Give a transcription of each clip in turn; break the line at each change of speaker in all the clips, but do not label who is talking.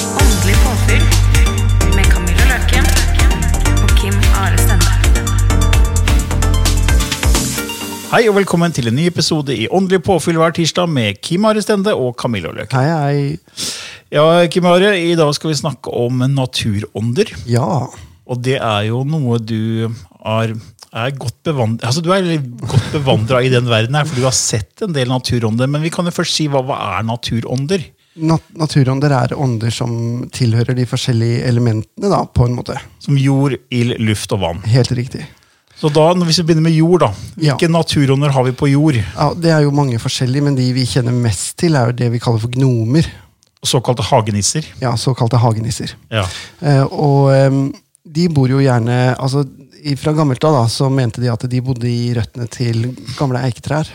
Åndelig påfyll med Camilla Løken og Kim Are Stende.
Hei og velkommen til en ny episode i Åndelig påfyll hver tirsdag med Kim Are Stende og Camillo Løk.
Hei, hei.
Ja, Kim Are, i dag skal vi snakke om naturånder.
Ja.
Og det er jo noe du er, er godt bevandra altså, Du er litt godt bevandra i den verden her, for du har sett en del naturånder. Men vi kan jo først si hva, hva er naturånder?
Nat naturånder er ånder som tilhører de forskjellige elementene, da, på en måte.
Som jord, ild, luft og vann.
Helt riktig.
Så da, når- Hvis vi begynner med jord, da.
Ja.
Hvilke naturånder har vi på jord?
Ja, det er jo mange forskjellige, men de vi kjenner mest til, er jo det vi kaller for gnomer.
Såkalte hagenisser.
Ja, såkalte hagenisser.
Ja.
Eh, og em, de bor jo gjerne altså, i- Fra gammelt av da, så mente de at de bodde i røttene til gamle eiketrær.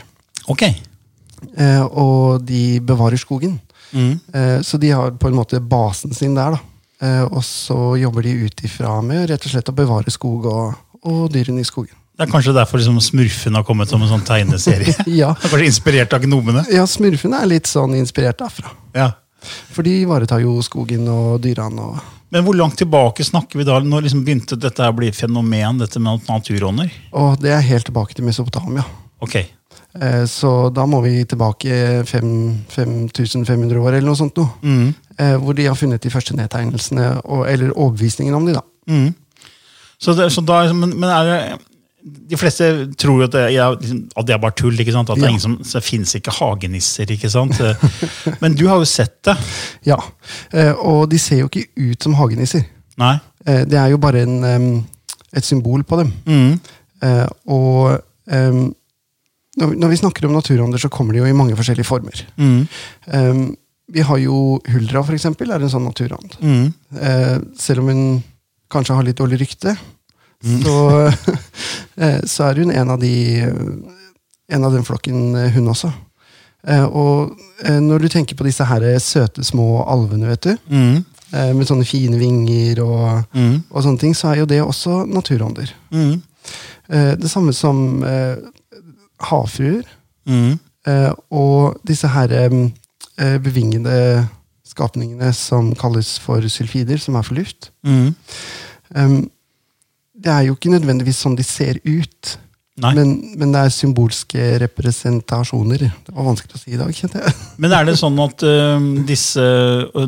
Ok.
Eh, og de bevarer skogen. Eh, så de har på en måte basen sin der, da. Eh, og så jobber de ut ifra med rett og slett å bevare skog og, og dyrene i skogen.
Det er kanskje derfor liksom, Smurfen har kommet som en sånn tegneserie.
Ja.
Det er Kanskje inspirert av gnomene.
Ja, smurfene er litt sånn inspirert derfra.
Ja.
For de ivaretar jo skogen og dyrene og
Men hvor langt tilbake snakker vi da? Når liksom begynte dette her å bli et fenomen, dette med naturånder?
Og det er helt tilbake til Mesopotamia.
Ok.
Eh, så da må vi tilbake fem- 5500 år eller noe sånt noe. Eh, hvor de har funnet de første nedtegnelsene, og, eller overbevisningen om de, da.
Så det, så da, er- men, men er det De fleste tror jo at det, er- liksom, at det er bare tull. ikke sant? At det,
Ja.
er ingen som, så det fins ikke hagenisser. ikke sant? Eh, Men du har jo sett det.
Ja, eh, Og de ser jo ikke ut som hagenisser.
Nei?
Eh, Det er jo bare en, em, et symbol på dem.
Mm,
Eh, Og em, når vi- når vi snakker om naturånder, så kommer de jo i mange forskjellige former.
mm,
Em, Vi har jo huldra, for eksempel, er en sånn naturånd.
mm,
Eh, Selv om hun kanskje har litt dårlig rykte, så, eh, så er hun en av de eh, en av den flokken, eh, hun også. Eh, Og eh, når du tenker på disse her eh, søte små alvene, vet du,
mm,
eh, med sånne fine vinger og, og sånne ting, så er jo det også naturånder.
mm,
Eh, det samme som eh, havfruer
mm,
eh, og disse her em, eh, bevingede skapningene som kalles for sylfider, som er for luft.
mm.
Em, det er jo ikke nødvendigvis sånn de ser ut,
Nei. Men,
men, men det er symbolske representasjoner. Det var vanskelig å si i dag, kjente jeg.
er det sånn at ø, disse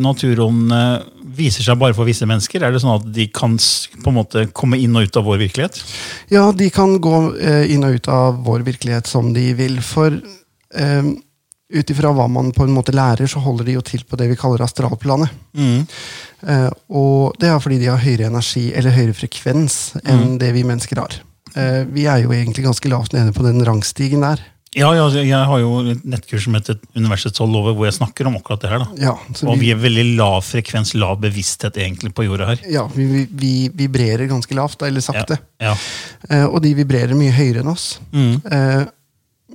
naturåndene viser seg bare for visse mennesker? Er det sånn at de kan s- på en måte komme inn og ut av vår virkelighet?
Ja, de kan gå eh, inn og ut av vår virkelighet som de vil. For eh, ut ifra hva man på en måte lærer, så holder de jo til på det vi kaller astralplanet.
Mm.
Eh, og det er fordi de har høyere energi, eller høyere frekvens, enn
Mm.
det vi mennesker har. Eh, vi er jo egentlig ganske lavt nede på den rangstigen der.
Ja, ja, Jeg har jo et nettkurs som heter Universets tolv lover, hvor jeg snakker om akkurat det her. da.
Ja, så
Og vi
vi,
er veldig lav frekvens, lav bevissthet egentlig på jorda her.
ja, vi, vi, vi vibrerer ganske lavt, da, eller sakte.
Ja, ja.
Eh, og de vibrerer mye høyere enn oss. Eh,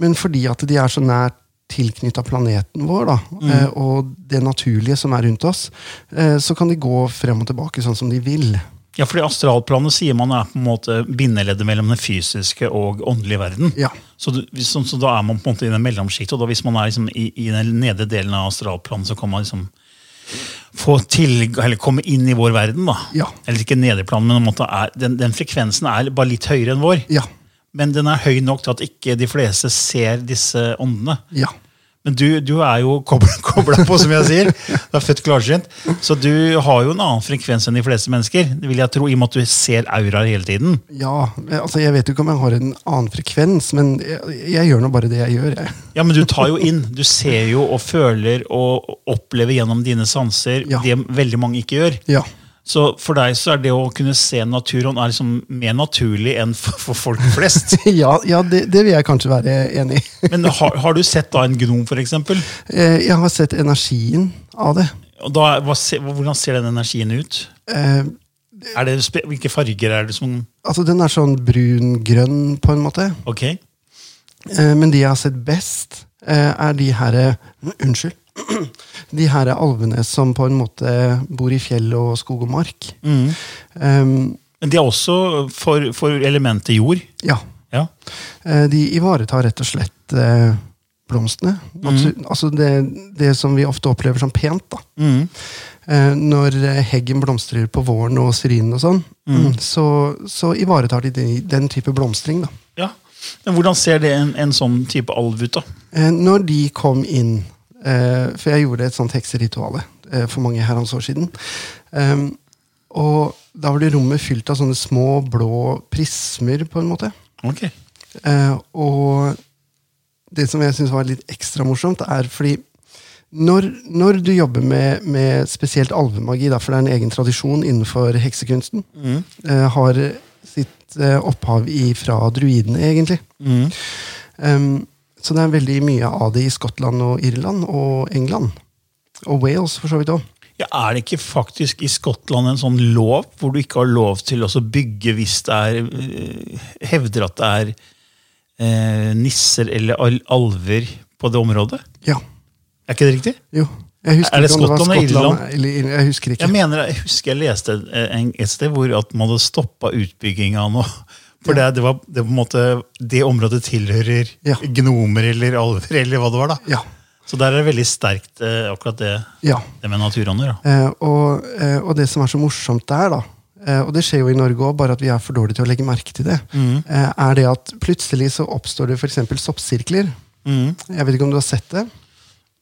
men fordi at de er så nært tilknytta planeten vår, da, eh, og det naturlige som er rundt oss, eh, så kan de gå frem og tilbake sånn som de vil.
Ja, fordi astralplanet sier man er på en måte bindeleddet mellom den fysiske og åndelige verden.
Ja.
Så, du, hvis- så, så da er man på en måte i den mellomsjiktet, og da hvis man er liksom i, i den nedre delen av astralplanet, så kan man liksom få tilg- eller komme inn i vår verden. da.
Ja.
Eller ikke nedre plan, men på en måte er, den, den frekvensen er bare litt høyere enn vår.
Ja.
Men den er høy nok til at ikke de fleste ser disse åndene.
Ja.
Men du, du er jo kobla på, som jeg sier. Du er født klarsynt. Så du har jo en annen frekvens enn de fleste mennesker, det vil jeg tro, i og med at du ser auraer hele tiden.
Ja, altså Jeg vet jo ikke om jeg har en annen frekvens, men jeg, jeg gjør nå bare det jeg gjør. jeg.
Ja, men du tar jo inn. Du ser jo og føler og opplever gjennom dine sanser
Ja.
det veldig mange ikke gjør.
Ja.
Så for deg så er det å kunne se naturen er liksom mer naturlig enn for, for folk flest.
Ja, ja det, det vil jeg kanskje være enig i.
Men har, har du sett da en gnom, for eksempel?
Eh, Jeg har sett energien av det.
Og da, hva, se- hvordan ser den energien ut?
Eh,
Er det, spe- hvilke farger er det som
Altså Den er sånn brun-grønn, på en måte.
Ok.
Eh, Men de jeg har sett best, eh, er de her Unnskyld. De her er alvene som på en måte bor i fjell og skog og mark. Eh,
Men de er også for, for elementet jord.
ja.
Ja.
Eh, De ivaretar rett og slett eh, blomstene. Natu- Altså det, det som vi ofte opplever som pent. da. Eh, Når eh, heggen blomstrer på våren og syrinen og sånn, så, så ivaretar de den, den type blomstring. da.
ja. Men hvordan ser det en, en sånn type alv ut, da?
Eh, Når de kom inn eh, For jeg gjorde et sånt hekserituale eh, for mange herrens år siden. Em, og da var det rommet fylt av sånne små blå prismer, på en måte.
Ok.
Eh, og det som jeg syns var litt ekstra morsomt, er fordi når, når du jobber med, med spesielt alvemagi, da, for det er en egen tradisjon innenfor heksekunsten,
Mm.
eh, har sitt eh, opphav i fra druidene, egentlig.
Mm.
Em, så det er veldig mye av det i Skottland og Irland og England. Og Wales, for så vidt òg.
Ja, er det ikke faktisk i Skottland en sånn lov hvor du ikke har lov til å så bygge hvis det er øh, Hevder at det er eh, nisser eller al alver på det området?
Ja.
Er ikke det riktig?
Jo. Jeg husker
Er det
ikke om det var
Skottland og
Skottland
Irland?
eller Irland. Jeg husker ikke.
Jeg mener, jeg husker jeg leste eh, en- et sted hvor at man hadde stoppa utbygginga nå. For det, det var det, var på en måte, det området tilhører
Ja.
gnomer eller alver eller hva det var. da.
Ja.
Så der er det veldig sterkt, eh, akkurat det,
ja.
det med naturånder. da.
Eh, og, eh, og det som er så morsomt der, da, eh, og det skjer jo i Norge òg, bare at vi er for dårlige til å legge merke til det,
Mm.
eh, er det at plutselig så oppstår det f.eks. soppsirkler. Jeg vet ikke om du har sett det?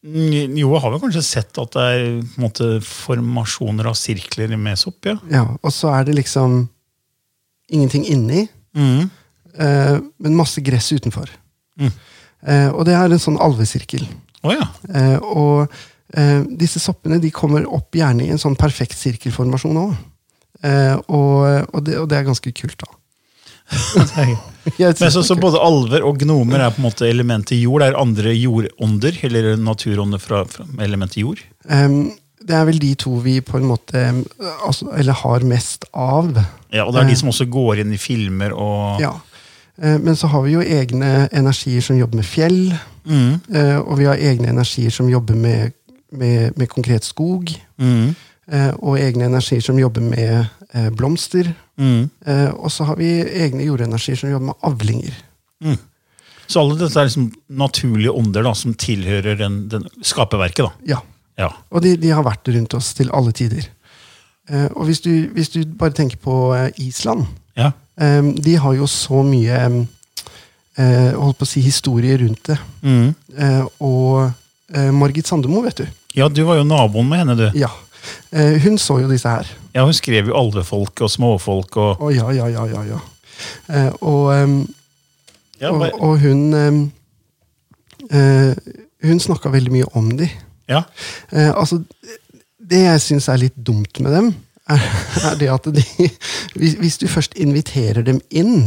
Mm, Jo, jeg har vel kanskje sett at det er på en måte, formasjoner av sirkler med sopp. ja.
Ja, Og så er det liksom ingenting inni,
Mm.
eh, men masse gress utenfor. Eh, og det er en sånn alvesirkel.
Å ja.
Eh, og eh, disse soppene de kommer opp gjerne i en sånn perfekt sirkelformasjon òg. Eh, og, og, det, og det er ganske kult, da. Jeg
Men så,
synes det er
så
kult.
både alver og gnomer er på en måte elementet jord. Det er andre jordånder, eller naturånder fra, fra elementet jord.
Ehm, det er vel de to vi på en måte ehm, altså, Eller har mest av.
Ja, Og det er
Eh.
de som også går inn i filmer og
Ja. Eh, Men så har vi jo egne energier som jobber med fjell. eh, Og vi har egne energier som jobber med, med, med konkret skog. eh, Og egne energier som jobber med eh, blomster. Eh, Og så har vi egne jordenergier som jobber med avlinger.
Så alle dette er liksom naturlige ånder da, som tilhører den, den skaperverket. da.
Ja.
Ja.
Og de, de har vært rundt oss til alle tider. Eh, Og hvis du, hvis du bare tenker på eh, Island
ja.
Em, Ehm, de har jo så mye em, eh, holdt på å si historie rundt det. Eh, og eh, Margit Sandemo, vet du.
Ja, du var jo naboen med henne, du.
Ja. Eh, hun så jo disse her.
Ja, Hun skrev jo alvefolk og småfolk og
Å ja, ja, ja, ja. ja. Eh, og, em,
Ja,
og,
bare,
og hun em, eh, Hun snakka veldig mye om de.
ja.
Eh, altså, det jeg syns er litt dumt med dem, er, er det at de hvis, hvis du først inviterer dem inn,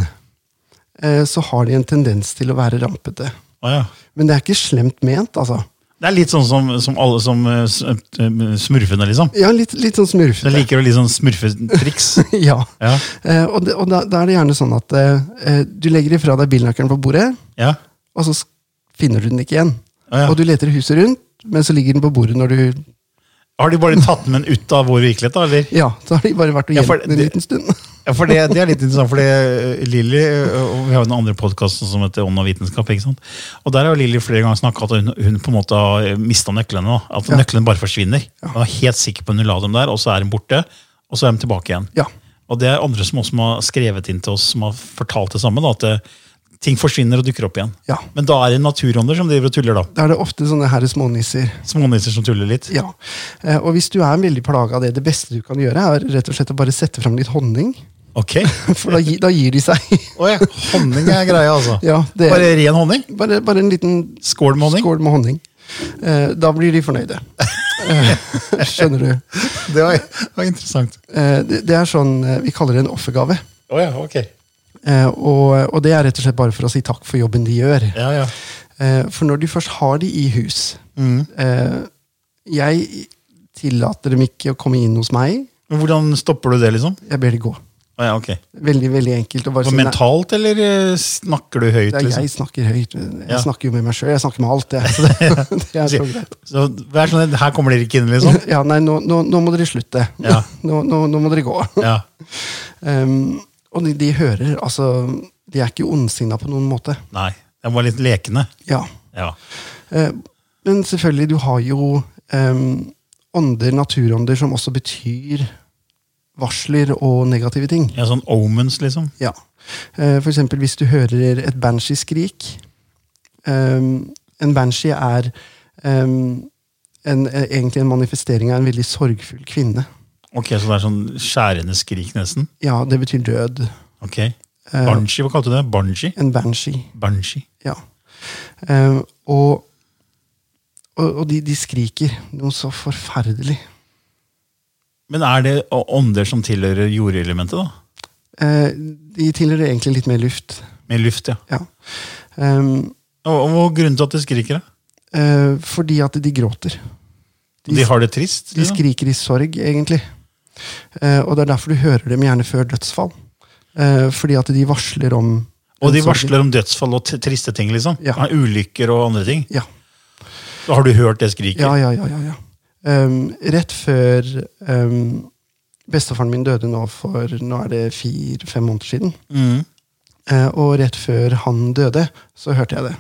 eh, så har de en tendens til å være rampete.
Å, ja.
Men det er ikke slemt ment, altså.
Det er litt sånn som, som alle som eh, s- eh, smurfene, liksom.
Ja, litt, litt sånn
De
smurfete.
liker å litt sånn smurfetriks.
Ja.
Ja.
Eh, og det, og da, da er det gjerne sånn at eh, eh, du legger ifra deg bilnøkkelen på bordet,
Ja.
og så s- finner du den ikke igjen.
Å, ja.
Og du leter huset rundt, men så ligger den på bordet når du
Har de bare tatt med den ut av vår virkelighet, da? eller?
Ja, så har de bare vært og
Ja, for
gjemt den en
det-
liten stund.
Ja, for det, det er litt interessant, for det, eh, Lilly eh, og Vi har jo den andre podkasten som heter Ånd og vitenskap. ikke sant? Og Der har Lilly flere ganger snakka at hun, hun på en måte har mista nøklene. da, At nøklene bare forsvinner. Hun er helt sikker på at hun la dem der, og så er hun borte. Og så er de tilbake igjen.
Ja.
Og det er andre som også har skrevet inn til oss, som har fortalt det samme. da, at det, ting forsvinner og dukker opp igjen.
Ja.
Men da er det naturånder som driver og tuller, da.
Da er det ofte sånne herre smånisser.
Smånisser som tuller litt.
Ja. Eh, Og hvis du er veldig plaga av det, det beste du kan gjøre, er rett og slett å bare sette fram litt honning.
Ok.
For da, gi, da gir de seg.
Å ja, honning er greia, altså.
Ja, det er-
Bare ren honning?
Bare, bare en liten
Skål med honning?
skål med honning. Eh, Da blir de fornøyde. Eh, Skjønner du?
Det var, var interessant.
Eh, Det det er sånn eh, Vi kaller det en offergave.
Å ja, ok.
Eh, Og, og det er rett og slett bare for å si takk for jobben de gjør.
Ja, ja.
Eh, For når de først har de i hus
Mm.
eh, Jeg tillater dem ikke å komme inn hos meg.
Men hvordan stopper du det, liksom?
Jeg ber de gå.
Å ja, ok.
Veldig veldig enkelt. å bare
Så
si, "Nei,
mentalt, eller eh, snakker du høyt?
Det er
liksom?
jeg snakker høyt. Jeg
Ja.
snakker jo med meg sjøl. Jeg snakker med alt, jeg. Så det, det er så greit.
Så vær sånn, her kommer dere ikke inn, liksom?
Ja, nei, nå, nå, nå må dere slutte.
Ja.
Nå, nå, nå må dere gå.
Ja.
Um, og de, de hører, altså De er ikke ondsinna på noen måte.
Nei. Det var litt lekende.
Ja.
Ja.
Eh, Men selvfølgelig, du har jo um, ånder, naturånder, som også betyr varsler og negative ting.
ja, sånn omens, liksom.
Ja. Eh, For eksempel hvis du hører et banshee-skrik. Ehm, En banshee er ehm, en, eh, egentlig en manifestering av en veldig sorgfull kvinne.
Ok, Så det er sånn skjærende skrik, nesten?
Ja, det betyr død.
Ok.
Eh.
Banshee, hva kalte du det? Banshee?
En banshee.
Banshee.
Ja. Ehm, Og, og, og de, de skriker noe så forferdelig.
Men er det å- ånder som tilhører jordelementet, da?
Eh, De tilhører egentlig litt mer luft.
Med luft, ja.
Ja. Ehm,
Og, og hva er grunnen til at de skriker, da?
eh, Fordi at de gråter.
De, har det trist? liksom?
De skriker i sorg, egentlig. Eh, og det er derfor du hører dem gjerne før dødsfall. Eh, fordi at de varsler om
Og de varsler om dødsfall og t- triste ting, liksom?
Ja.
Ja, Ulykker og andre ting?
Ja,
Så har du hørt det skriket?
ja, ja. ja, ja, ja. Ehm, rett før ehm, bestefaren min døde nå for nå er det fire-fem måneder siden.
Mm.
Eh, og rett før han døde, så hørte jeg det.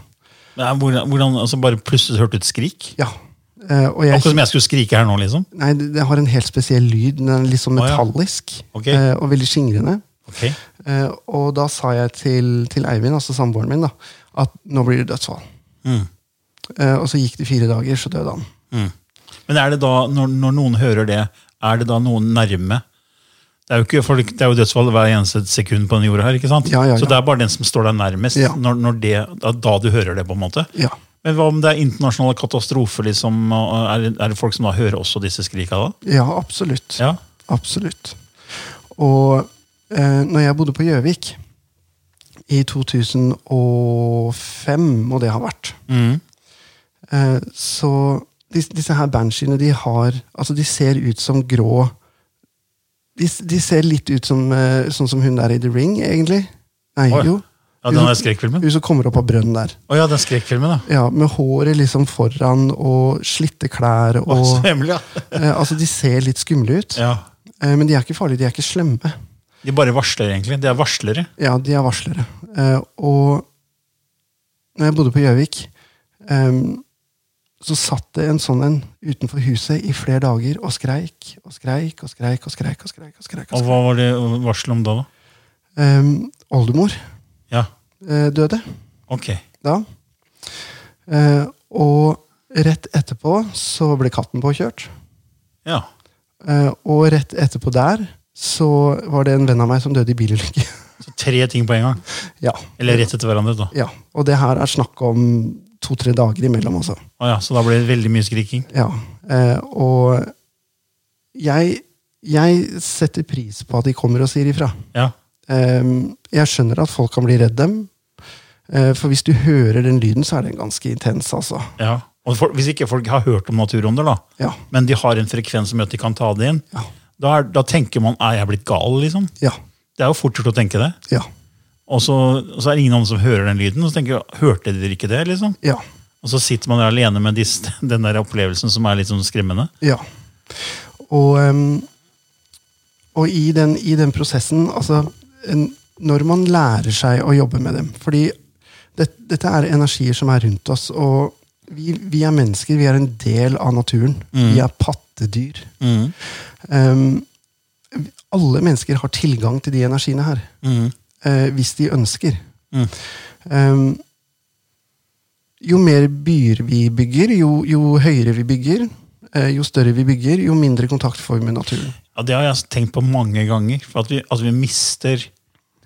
Nei, Hvordan, hvordan, altså bare plutselig hørte du et skrik?
Ja. Eh, og jeg,
Akkurat som jeg skulle skrike her nå, liksom?
Nei, det, det har en helt spesiell lyd. Den er litt sånn
Å, ja.
metallisk
Ok.
eh, og veldig skingrende.
Ok.
Eh, og da sa jeg til, til Eivind, altså samboeren min, da, at nå blir det dødsfall.
Mm.
Eh, og så gikk det fire dager, så døde han.
Men er det da, når, når noen hører det, er det da noen nærme? Det er jo, ikke, folk, det er jo dødsfall hver eneste sekund på denne jorda her, ikke sant?
Ja, ja, ja.
Så det er bare den som står deg nærmest,
Ja.
når, når det, da, da du hører det, på en måte.
Ja.
Men hva om det er internasjonale katastrofer, liksom? og Er, det- er det folk som da hører også disse skrika da?
Ja, absolutt.
Ja.
Absolutt. Og eh, når jeg bodde på Gjøvik i 2005, må det ha vært,
Mm.
eh, så disse, disse her bansheene, de har Altså, de ser ut som grå De, de ser litt ut som eh, sånn som hun der i The Ring, egentlig. Nei,
Oi.
jo.
Ja, den
Hun-
der skrekkfilmen?
Hun som kommer opp av brønnen der.
Å ja, den skrekkfilmen, da.
Ja, Med håret liksom foran og slitte klær og
Å, så hemmelig, ja.
eh, Altså, de ser litt skumle ut.
ja.
Eh, Men de er ikke farlige, de er ikke slemme.
De bare varsler, egentlig. De er varslere.
Ja, de er varslere. Eh, og når jeg bodde på Gjøvik, eh, så satt det en sånn en utenfor huset i flere dager og skreik og skreik og skreik. og skreik og skreik og skreik. Og
Og
skreik.
hva var det varsel om da, da?
Eh, oldemor
Ja,
eh, døde
ok.
da. Eh, og rett etterpå så ble katten påkjørt.
Ja.
Eh, og rett etterpå der så var det en venn av meg som døde i bilulykke.
Så tre ting på en gang.
ja.
Eller rett etter hverandre, da.
ja. Og det her er snakk om to-tre dager imellom, altså.
Å ja, så da ble det veldig mye skriking.
Ja, eh, og jeg, jeg setter pris på at de kommer og sier ifra.
Ja.
Eh, jeg skjønner at folk kan bli redd dem, eh, for hvis du hører den lyden, så er den ganske intens, altså.
ja. Og for, hvis ikke folk har hørt om naturånder, da,
Ja.
men de har en frekvens som gjør at de kan ta det inn,
Ja.
da, er, da tenker man er jeg blitt gal, liksom?
Ja,
Det er jo fort gjort å tenke det.
ja,
Og så, og så er det ingen andre som hører den lyden. Og så tenker jeg, hørte dere ikke det? liksom?
ja,
Og så sitter man der alene med disse, den der opplevelsen som er litt sånn skremmende.
ja. Og, eh, og i, den, i den prosessen, altså en, når man lærer seg å jobbe med dem, fordi det, dette er energier som er rundt oss, og vi, vi er mennesker, vi er en del av naturen. Vi er pattedyr. Um, alle mennesker har tilgang til de energiene her. Eh, hvis de ønsker. Ehm, jo mer byer vi bygger, jo, jo høyere vi bygger, eh, jo større vi bygger, jo mindre kontakt får vi med naturen.
Ja, det har jeg altså tenkt på mange ganger. For at vi, at vi mister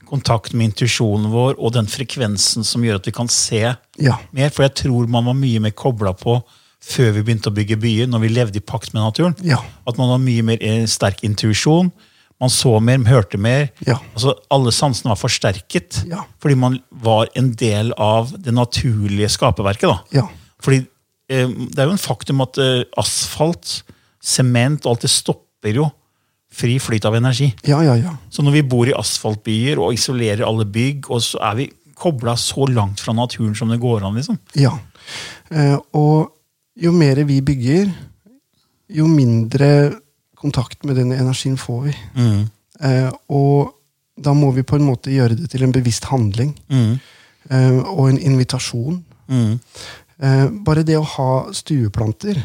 kontakt med intuisjonen vår og den frekvensen som gjør at vi kan se
Ja.
mer. For jeg tror man var mye mer kobla på før vi begynte å bygge byer, når vi levde i pakt med naturen.
Ja.
At man var mye mer eh, sterk intuisjon. Man så mer, man hørte mer.
Ja.
Altså, alle sansene var forsterket
Ja.
fordi man var en del av det naturlige skaperverket. da.
Ja.
Fordi eh, det er jo en faktum at eh, asfalt, sement og alt det stopper jo fri flyt av energi.
Ja, ja, ja.
Så når vi bor i asfaltbyer og isolerer alle bygg, og så er vi kobla så langt fra naturen som det går an. liksom.
ja. Eh, og jo mer vi bygger, jo mindre kontakt med den energien får vi. Eh, og da må vi på en måte gjøre det til en bevisst handling. Eh, og en invitasjon. Eh, bare det å ha stueplanter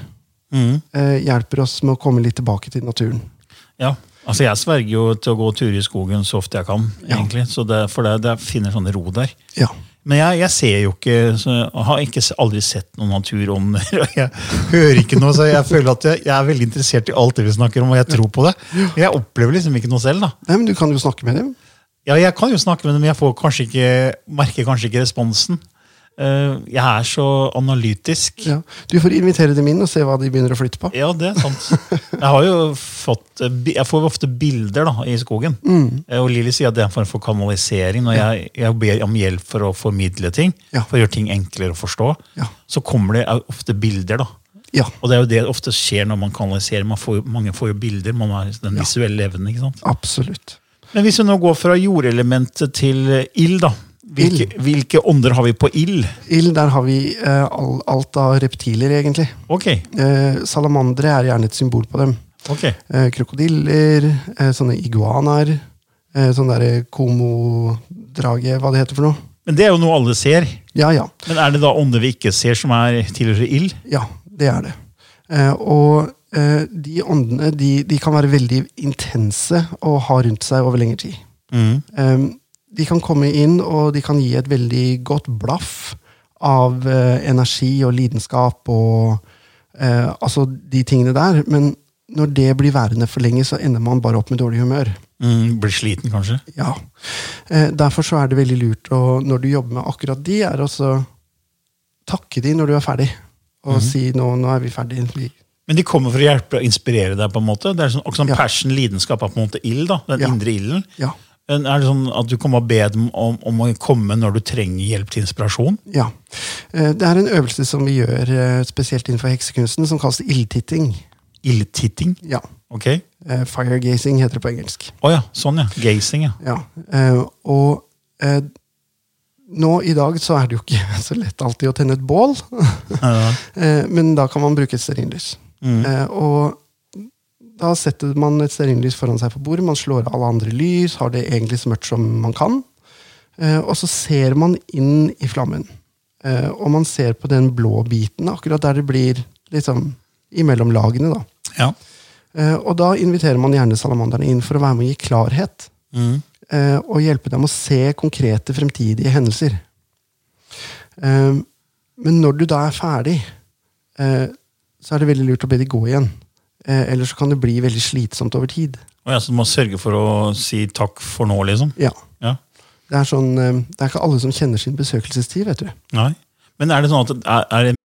eh, hjelper oss med å komme litt tilbake til naturen.
Ja, altså Jeg sverger jo til å gå turer i skogen så ofte jeg kan.
Ja.
egentlig, så det, For det, det finner sånn ro der.
Ja.
Men jeg, jeg ser jo ikke så jeg Har ikke, s- aldri sett noen naturånder. og Jeg hører ikke noe, så jeg føler at jeg, jeg er veldig interessert i alt det vi snakker om, og jeg tror på det. Men jeg opplever liksom ikke noe selv. da.
Nei, men Du kan jo snakke med dem.
Ja, jeg kan jo snakke med dem, men jeg får kanskje ikke, merker kanskje ikke responsen. Eh, Jeg er så analytisk.
Ja. Du får invitere dem inn og se hva de begynner å flytte på.
Ja, det er sant. Jeg har jo fått, eh, bi- jeg får jo ofte bilder da, i skogen.
Mm.
Eh, Og Lilly sier at det er en form for kanalisering. Når jeg, jeg ber om hjelp for å formidle ting,
Ja.
for å gjøre ting enklere å forstå,
Ja.
så kommer det eh, ofte bilder. da.
Ja,
Og det er jo det ofte skjer når man kanaliserer. Man får, jo- mange får jo bilder. Man har den
Ja.
visuelle evnen. ikke sant?
absolutt.
Men hvis vi nå går fra jordelementet til eh, ild, da. Hvilke,
Ild.
hvilke ånder har vi på ild?
Ild, der har vi eh, all, alt av reptiler, egentlig.
Ok,
Eh, salamandere er gjerne et symbol på dem.
ok.
Eh, krokodiller, eh, sånne iguanaer, eh, sånn derre komodrage, hva det heter for noe.
Men det er jo noe alle ser.
Ja, ja.
Men er det da ånder vi ikke ser, som er tilhører ild?
Ja, det er det. Eh, og eh, de åndene de, de kan være veldig intense å ha rundt seg over lengre tid. Eh, de kan komme inn, og de kan gi et veldig godt blaff av eh, energi og lidenskap og eh, altså de tingene der. Men når det blir værende for lenge, så ender man bare opp med dårlig humør.
Mm, blir sliten, kanskje?
Ja. Eh, Derfor så er det veldig lurt å, når du jobber med akkurat de, er også takke de når du er ferdig. Og si nå, nå er vi ferdig. Vi,
Men de kommer for å hjelpe og inspirere deg. på en måte. Det er sånn, også sånn
Ja.
Passion, lidenskap, er på en måte ild. da, Den
Ja.
indre ilden.
ja,
Men Er det sånn at du kan bare be dem om, om å komme når du trenger hjelp til inspirasjon?
ja. Eh, Det er en øvelse som vi gjør eh, spesielt innenfor heksekunsten, som kalles ildtitting.
Ildtitting?
Ja.
Ok. Å
Eh, Firegazing heter det på engelsk.
ja, sånn, ja. Gazing, ja.
Ja. eh, Og eh, nå i dag så er det jo ikke så lett alltid å tenne et bål. Eh, Men da kan man bruke et stearinlys. Eh, Og da setter man et stearinlys foran seg på bordet, man slår av alle andre lys, har det egentlig så mørkt som man kan. Eh, Og så ser man inn i flammen. Eh, Og man ser på den blå biten, akkurat der det blir liksom imellom lagene, da.
ja.
Eh, Og da inviterer man gjerne salamanderne inn for å være med og gi klarhet.
Mm.
Eh, Og hjelpe dem å se konkrete fremtidige hendelser. Eh, Men når du da er ferdig, eh, så er det veldig lurt å be de gå igjen. Eh, Ellers så kan det bli veldig slitsomt over tid.
Og ja, Så du må sørge for å si takk for nå, liksom?
Ja.
Ja.
Det er, sånn, eh, det er ikke alle som kjenner sin besøkelsestid, vet du.
Nei. Men er det sånn at er, er det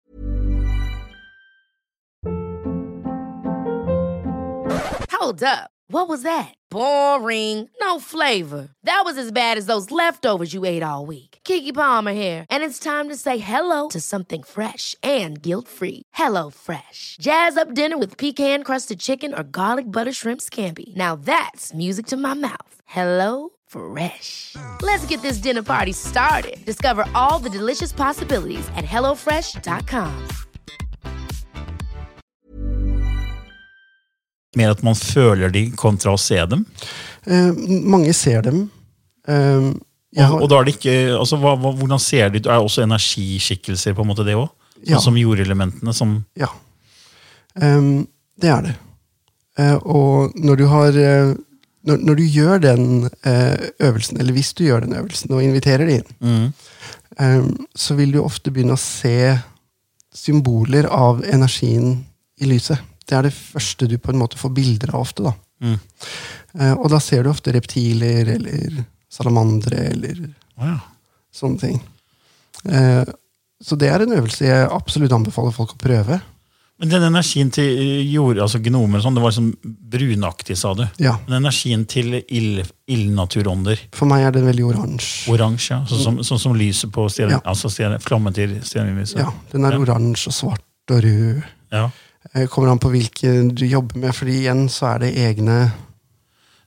Hold up. What was that? Boring. No flavor. That was as bad as those leftovers you ate all week. Kiki Palmer here, and it's time to say hello to something fresh and guilt-free. Hello Fresh. Jazz up dinner with pecan-crusted chicken or garlic butter shrimp scampi. Now that's music to my mouth. Hello Fresh. Let's get this dinner party started. Discover all the delicious possibilities at hellofresh.com.
mer at man føler de kontra å se dem?
Eh, Mange ser dem. Eh, jeg
Og,
har-
og da er det ikke, altså hva, hva, Hvordan ser de ut? Er det også energiskikkelser, på en måte det òg? Sånn
Ja.
som jordelementene? som...
Ja. Ehm, det er det. Eh, og når du har eh, når, når du gjør den eh, øvelsen, eller hvis du gjør den øvelsen og inviterer de inn, eh, så vil du ofte begynne å se symboler av energien i lyset. Det er det første du på en måte får bilder av ofte. da. Eh, og da ser du ofte reptiler eller salamandere eller
Å ja.
sånne ting. Eh, så det er en øvelse jeg absolutt anbefaler folk å prøve.
Men den energien til eh, jord, altså gnomer og sånn, det var liksom brunaktig, sa du.
Ja.
Men energien til ild, ildnaturånder,
For meg er den veldig oransje.
oransje, ja, sånn som, sånn som lyset på stjerne,
Ja.
altså stjerne, flammen til stjernelyset.
Ja, den er oransje og svart og rød.
Ja.
Eh, Kommer an på hvilken du jobber med, fordi igjen så er det egne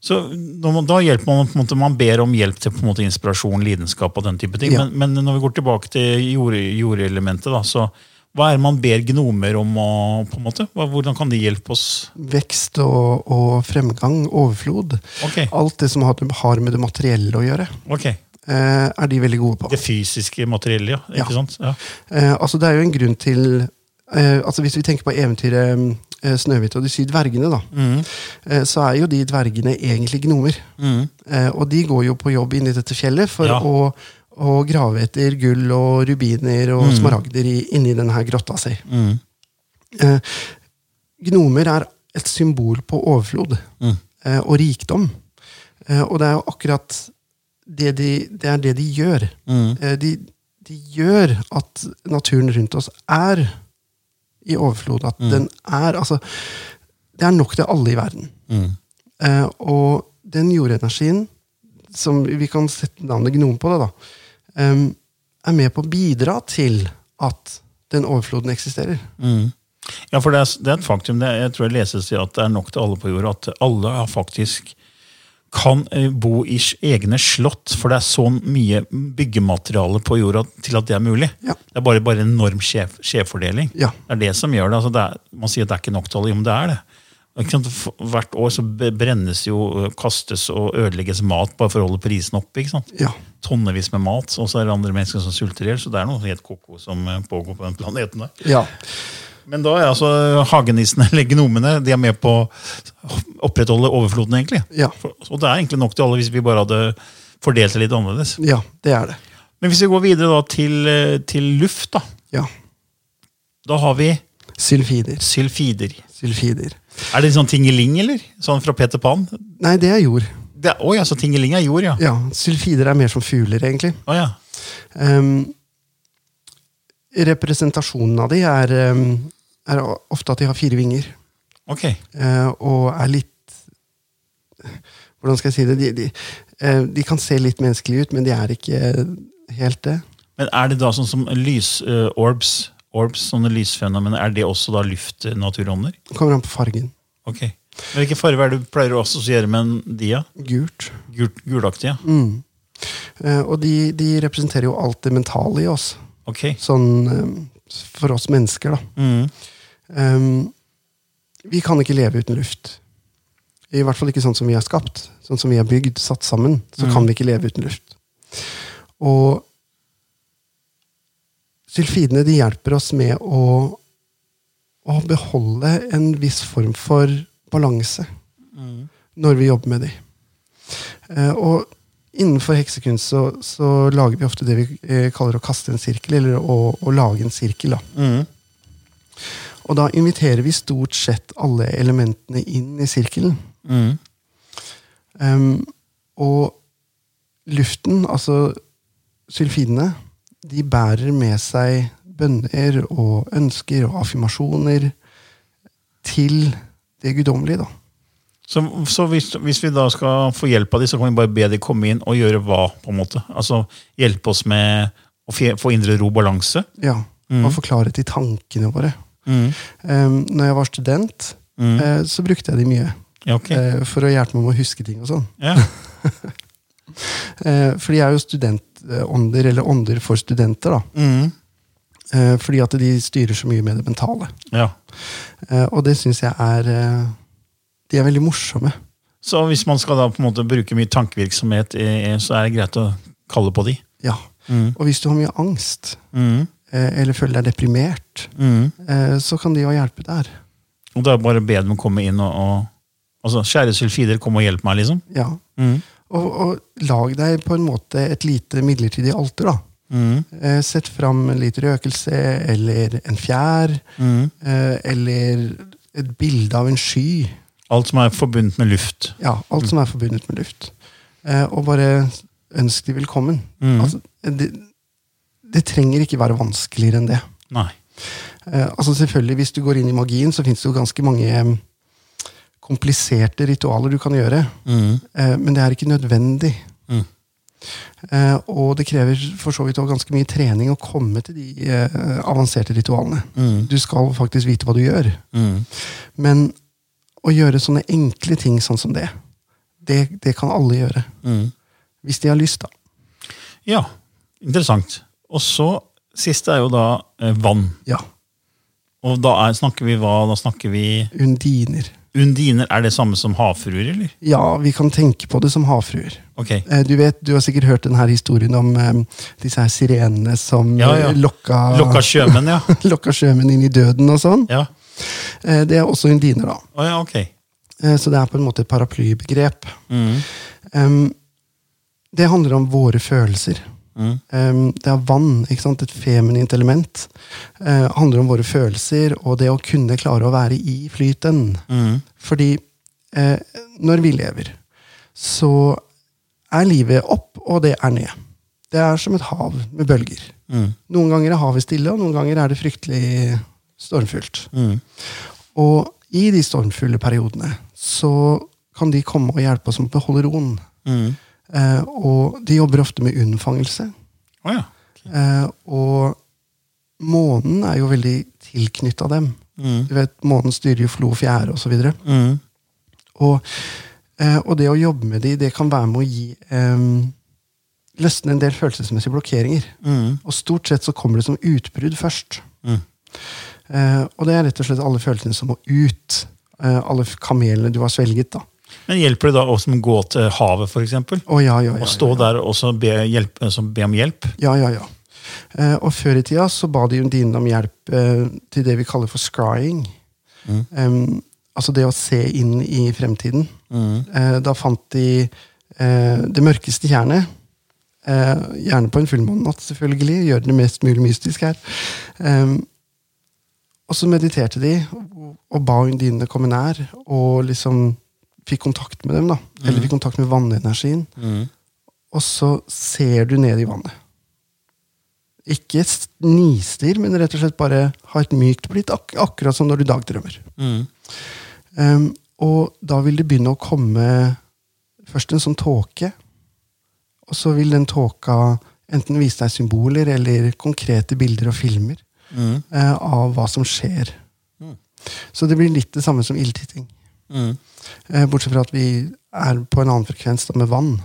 Så når man, da hjelper man på en måte, man ber om hjelp til på en måte inspirasjon, lidenskap og den type ting.
Ja.
Men, men når vi går tilbake til jord, jordelementet, da, så hva er det man ber gnomer om? Å, på en måte? Hva, hvordan kan de hjelpe oss?
vekst og, og fremgang, overflod.
Ok.
Alt det som har, har med det materielle å gjøre,
Ok,
eh, er de veldig gode på.
Det fysiske materiellet, ja.
Ja.
Ikke sant? Ja.
Eh, altså Det er jo en grunn til eh, altså Hvis vi tenker på eventyret mm, eh, Snøhvit og de syv dvergene, da, eh, så er jo de dvergene egentlig gnomer. Eh, og de går jo på jobb inni dette fjellet for
Ja.
å, å grave etter gull og rubiner og smaragder i, inni denne grotta si. Eh, gnomer er et symbol på overflod eh, og rikdom. Eh, og det er jo akkurat det de, det er det de gjør. Eh, de, de gjør at naturen rundt oss er i overflod. At den er Altså, det er nok til alle i verden. Eh, og den jordenergien, som vi kan sette navnet gnom på det, da, em, er med på å bidra til at den overfloden eksisterer.
Ja, for det er, det er et faktum. Det er, jeg tror jeg leses i at det er nok til alle på jorda. At alle er faktisk kan eh, bo i s- egne slott, for det er så mye byggemateriale på jorda til at det er mulig.
Ja.
Det er bare, bare en enorm skjev, skjevfordeling.
Ja.
Det er det som gjør det. Altså det er, man sier at det er ikke nok til alle, jo, men det er det. Ikke sant? F- Hvert år så b- brennes jo, ø, kastes og ødelegges mat bare for å holde prisen oppe. ikke sant?
Ja.
Tonnevis med mat, og så er det andre mennesker som sulter i hjel. Så det er noe helt koko som eh, pågår på den planeten der.
Ja.
Men da er altså hagenissene eller gnomene de er med på å opprettholde overfloden, egentlig.
Ja.
For- Og det er egentlig nok til alle hvis vi bare hadde fordelt det litt annerledes.
ja, det er det.
Men hvis vi går videre da til, eh, til luft, da.
Ja.
Da har vi
Sylfider.
sylfider.
Sylfider.
Er det sånn tingeling, eller? Sånn fra Peter Pan?
Nei, det er jord.
Det, oi, altså tingeling er jord, ja.
Ja, Sylfider er mer som fugler, egentlig.
Å, ja.
Em, representasjonen av de er, em, er ofte at de har fire vinger.
Ok.
eh, og er litt Hvordan skal jeg si det? De, de, eh, de kan se litt menneskelige ut, men de er ikke helt det.
Men er det da sånn som lys-orbs? Orbs, sånne lysfenomener, Er det også da luftnaturånder?
Det kommer an på fargen.
Ok. Men Hvilke farger er det du pleier å assosiere med de? Ja?
Gult.
Gult, gulaktige?
Eh, og de, de representerer jo alt det mentale i oss.
Ok.
Sånn em, for oss mennesker, da.
Mm.
Em, Ehm, vi kan ikke leve uten luft. I hvert fall ikke sånn som vi er skapt. Sånn som vi er bygd, satt sammen, så kan vi ikke leve uten luft. Og sylfidene de hjelper oss med å, å beholde en viss form for balanse når vi jobber med de. Eh, og innenfor heksekunst så, så lager vi ofte det vi eh, kaller å kaste en sirkel, eller å, å lage en sirkel. da. Og da inviterer vi stort sett alle elementene inn i sirkelen. Ehm, og luften, altså sylfidene, de bærer med seg bønner og ønsker og affirmasjoner til det guddommelige, da.
Så, så hvis, hvis vi da skal få hjelp av de, så kan vi bare be de komme inn og gjøre hva? på en måte? Altså Hjelpe oss med å fje- få indre ro og balanse?
Ja, Og forklare til tankene våre. Ehm, når jeg var student, eh, så brukte jeg de mye.
Ja, ok.
eh, for å hjelpe meg med å huske ting og sånn.
Ja.
Eh, for de er jo studentånder, eller ånder for studenter, da. Eh, fordi at de styrer så mye med det mentale.
ja.
Eh, og det syns jeg er eh, De er veldig morsomme.
Så hvis man skal da på en måte bruke mye tankevirksomhet, eh, så er det greit å kalle på de?
Ja. Og hvis du har mye angst,
Mm.
eh, eller føler deg deprimert, eh, så kan de jo hjelpe der.
Og da er det bare å be dem komme inn og, og Altså, Kjære sulfider, kom og hjelp meg, liksom.
Ja. Og, og lag deg på en måte et lite midlertidig alter, da. Eh, Sett fram en liter røkelse, eller en fjær, eh, eller et bilde av en sky.
Alt som er forbundet med luft.
Ja, alt som er forbundet med luft. Eh, Og bare ønsk de velkommen. Altså, det, det trenger ikke være vanskeligere enn det.
Nei.
Eh, altså selvfølgelig, Hvis du går inn i magien, så fins det jo ganske mange eh, kompliserte ritualer du kan gjøre.
Mm.
Eh, men det er ikke nødvendig. Eh, og det krever for så vidt også ganske mye trening å komme til de eh, avanserte ritualene.
Mm.
Du skal faktisk vite hva du gjør. Men å gjøre sånne enkle ting sånn som det, det, det kan alle gjøre.
Mm.
Hvis de har lyst, da.
Ja, interessant. Og så, siste er jo da eh, vann.
Ja.
Og da er, snakker vi hva? Da snakker vi
Undiner.
Undiner er det samme som havfruer, eller?
Ja, vi kan tenke på det som havfruer.
Ok.
Eh, Du vet, du har sikkert hørt denne historien om eh, disse her sirenene som
Ja, ja.
eh, lokka,
Lokka sjømenn, ja.
lokka sjømenn inn i døden og sånn.
Ja,
Eh, Det er også undiner, da.
Å ja ok.
Eh, Så det er på en måte et paraplybegrep. Em, det handler om våre følelser. Em, det er vann, ikke sant? et feminint element. Eh, handler om våre følelser og det å kunne klare å være i flyten. Fordi eh, når vi lever, så er livet opp, og det er ned. Det er som et hav med bølger. Noen ganger er havet stille, og noen ganger er det fryktelig stormfullt. Og i de stormfulle periodene så kan de komme og hjelpe oss med å beholde roen. Eh, og de jobber ofte med unnfangelse.
Å ja.
Eh, og månen er jo veldig tilknytta dem. Du vet, Månen styrer jo flo og fjære osv. videre. Og, eh, og det å jobbe med de, det kan være med å gi eh, løsne en del følelsesmessige blokkeringer.
Mm.
Og stort sett så kommer det som utbrudd først. Eh, og det er rett og slett alle følelsene som må ut. Eh, alle f- kamelene du har svelget, da.
Men hjelper det da å som gå til havet, for eksempel?
Å ja, ja, ja.
Og stå der og så be, hjelp, altså be om hjelp?
Ja, ja, ja. Eh, og før i tida så ba de undinene om hjelp eh, til det vi kaller for scrying. Em, altså det å se inn i fremtiden. Eh, da fant de eh, det mørkeste tjernet. Eh, gjerne på en fullmånenatt, selvfølgelig. Gjør det mest mulig mystisk her. Em, og så mediterte de og- og ba undinene komme nær, og liksom fikk kontakt med dem. da. Eller fikk kontakt med vannenergien. Og så ser du ned i vannet ikke snistir, men rett og slett bare ha et mykt blitt, ak akkurat som når du dagdrømmer. Um, og da vil det begynne å komme først en sånn tåke, og så vil den tåka enten vise deg symboler eller konkrete bilder og filmer eh, av hva som skjer. Så det blir litt det samme som ildtitting. Eh, bortsett fra at vi er på en annen frekvens da, med vann.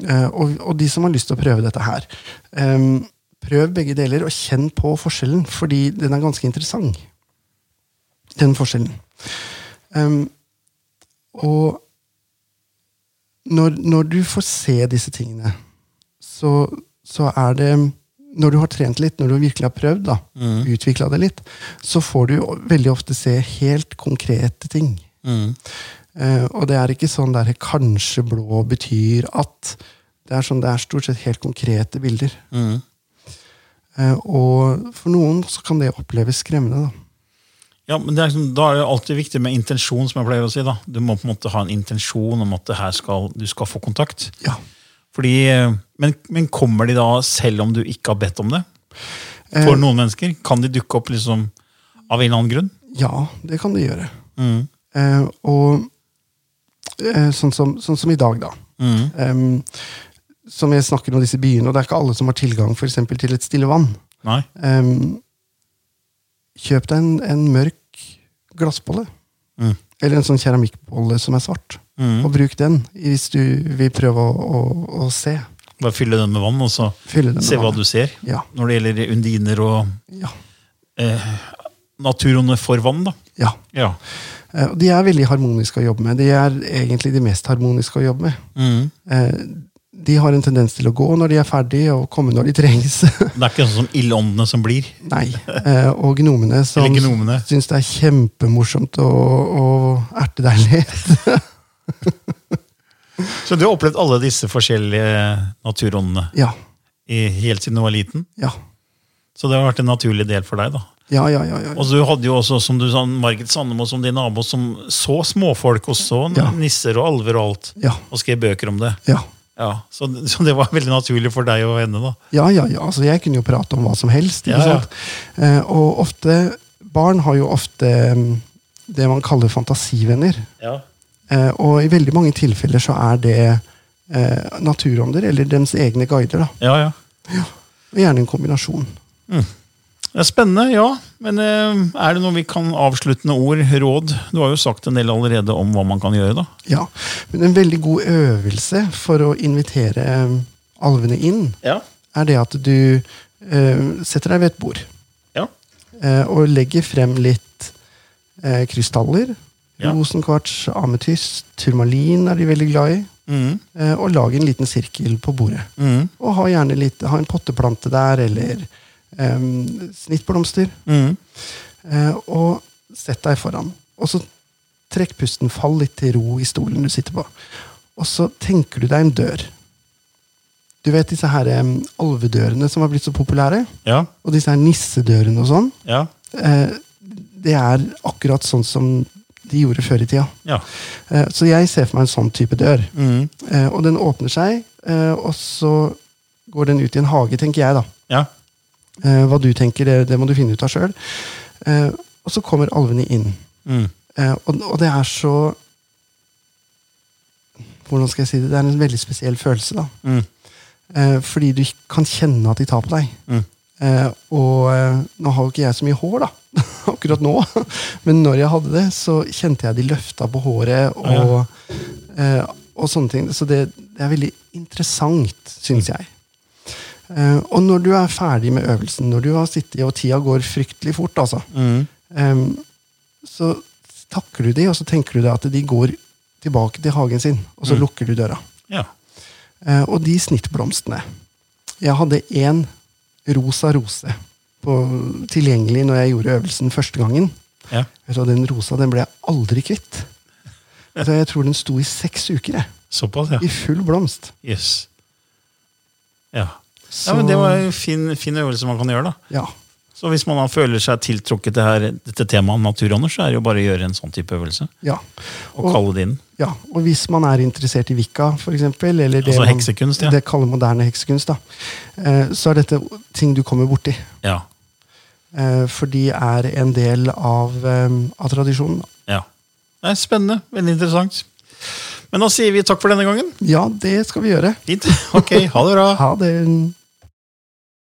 Eh, og, og de som har lyst til å prøve dette her, em, prøv begge deler og kjenn på forskjellen, fordi den er ganske interessant. Den forskjellen. Em, og når, når du får se disse tingene, så, så er det Når du har trent litt, når du virkelig har prøvd, da, utvikla det litt, så får du veldig ofte se helt konkrete ting. Eh, og det er ikke sånn der kanskje blå betyr at. Det er sånn det er stort sett helt konkrete bilder. Eh, og for noen så kan det oppleves skremmende, da.
Ja, men det er liksom, Da er det alltid viktig med intensjon, som jeg pleier å si. da. Du må på en måte ha en intensjon om at det her skal, du skal få kontakt.
Ja.
Fordi, eh, men, men kommer de da selv om du ikke har bedt om det?
Eh.
For noen mennesker kan de dukke opp liksom av en eller annen grunn.
Ja, det kan det gjøre. Eh, og eh, sånn, som, sånn som i dag, da. Em, som jeg snakker om disse byene, og det er ikke alle som har tilgang for eksempel, til et stille vann.
Nei.
Em, kjøp deg en, en mørk glassbolle. Eller en sånn keramikkbolle som er svart. Og bruk den hvis du vil prøve å, å, å se.
Bare fylle den med vann, og så
Fylle den med
se hva
vann.
du ser.
Ja.
Når det gjelder undiner og
Ja.
eh, naturen for vann, da.
ja.
Ja.
Eh, og de er veldig harmoniske å jobbe med. De er egentlig de mest harmoniske å jobbe med.
Mm.
Eh, de har en tendens til å gå når de er ferdig, og komme når de trengs.
Det er ikke sånn som ildåndene som blir.
Nei. Eh, og gnomene som
Eller gnomene.
syns det er kjempemorsomt å, å erte kjempedeilig.
Så du har opplevd alle disse forskjellige naturåndene
ja.
i, helt siden du var liten?
Ja.
Så det har vært en naturlig del for deg, da?
Ja, ja, ja. ja.
Og du hadde jo også, som du sa, Margit Sandemo som din nabo, som så småfolk og så
Ja.
nisser og alver og alt,
Ja.
og skrev bøker om det.
ja.
Ja, så, så det var veldig naturlig for deg og henne, da.
Ja, ja, ja. Altså, jeg kunne jo prate om hva som helst. Ikke
Ja, ja.
sant? Eh, og ofte Barn har jo ofte mm, det man kaller fantasivenner.
Ja.
Eh, og i veldig mange tilfeller så er det eh, naturånder eller deres egne guider. da.
ja, ja.
Og Gjerne en kombinasjon.
Det er spennende, ja. Men eh, er det noe vi kan avsluttende ord, råd? Du har jo sagt en del allerede om hva man kan gjøre, da.
Ja, Men en veldig god øvelse for å invitere eh, alvene inn,
Ja.
er det at du eh, setter deg ved et bord
Ja.
eh, og legger frem litt eh, krystaller.
Ja.
Rosenkvarts, ametyst, turmalin er de veldig glad i.
Mm.
eh, og lag en liten sirkel på bordet.
Mm.
Og ha gjerne litt, ha en potteplante der, eller em, snittblomster.
Mm.
Eh, og sett deg foran. Og så trekk pusten, fall litt til ro i stolen du sitter på. Og så tenker du deg en dør. Du vet disse her em, alvedørene som har blitt så populære?
Ja.
Og disse her nissedørene og sånn?
Ja.
Eh, det er akkurat sånn som de gjorde før i tida.
Ja.
Eh, Så jeg ser for meg en sånn type dør.
Mm.
Eh, Og den åpner seg, eh, og så går den ut i en hage, tenker jeg, da.
Ja.
Eh, Hva du tenker, det, det må du finne ut av sjøl. Og så kommer alvene inn.
Mm.
Eh, Og, og det er så Hvordan skal jeg si det? Det er en veldig spesiell følelse, da.
Mm.
Eh, Fordi du ikke kan kjenne at de tar på deg.
Mm.
Eh, og eh, nå har jo ikke jeg så mye hår, da. Akkurat nå. Men når jeg hadde det, så kjente jeg de løfta på håret og, eh, og sånne ting. Så det, det er veldig interessant, syns jeg. Eh, og når du er ferdig med øvelsen, når du har sittet og tida går fryktelig fort, altså,
Mm.
eh, så takker du de, og så tenker du deg at de går tilbake til hagen sin, og
Mm.
så lukker du døra.
Ja.
Eh, Og de snittblomstene Jeg hadde én rosa rose på, tilgjengelig når jeg gjorde øvelsen første gangen.
Ja.
Vet du, hva, den rosa den ble jeg aldri kvitt. Vet du hva, Jeg tror den sto i seks uker, jeg.
Såpass, ja.
I full blomst.
Yes. Ja.
Så,
ja men det var en fin, fin øvelse man kan gjøre, da.
ja.
Så hvis man da føler seg tiltrukket til her, dette temaet naturånder, så er det jo bare å gjøre en sånn type øvelse.
Ja.
Og kalle det inn.
ja. Og hvis man er interessert i Wicca, for eksempel, eller det,
Altså
man-
heksekunst, ja.
det kaller moderne heksekunst, da, eh, så er dette ting du kommer borti.
Ja.
Eh, For de er en del av, eh, av tradisjonen.
ja. Det er spennende. Veldig interessant. Men da sier vi takk for denne gangen.
Ja, det skal vi gjøre.
Fint. Ok, ha det bra.
Ha det.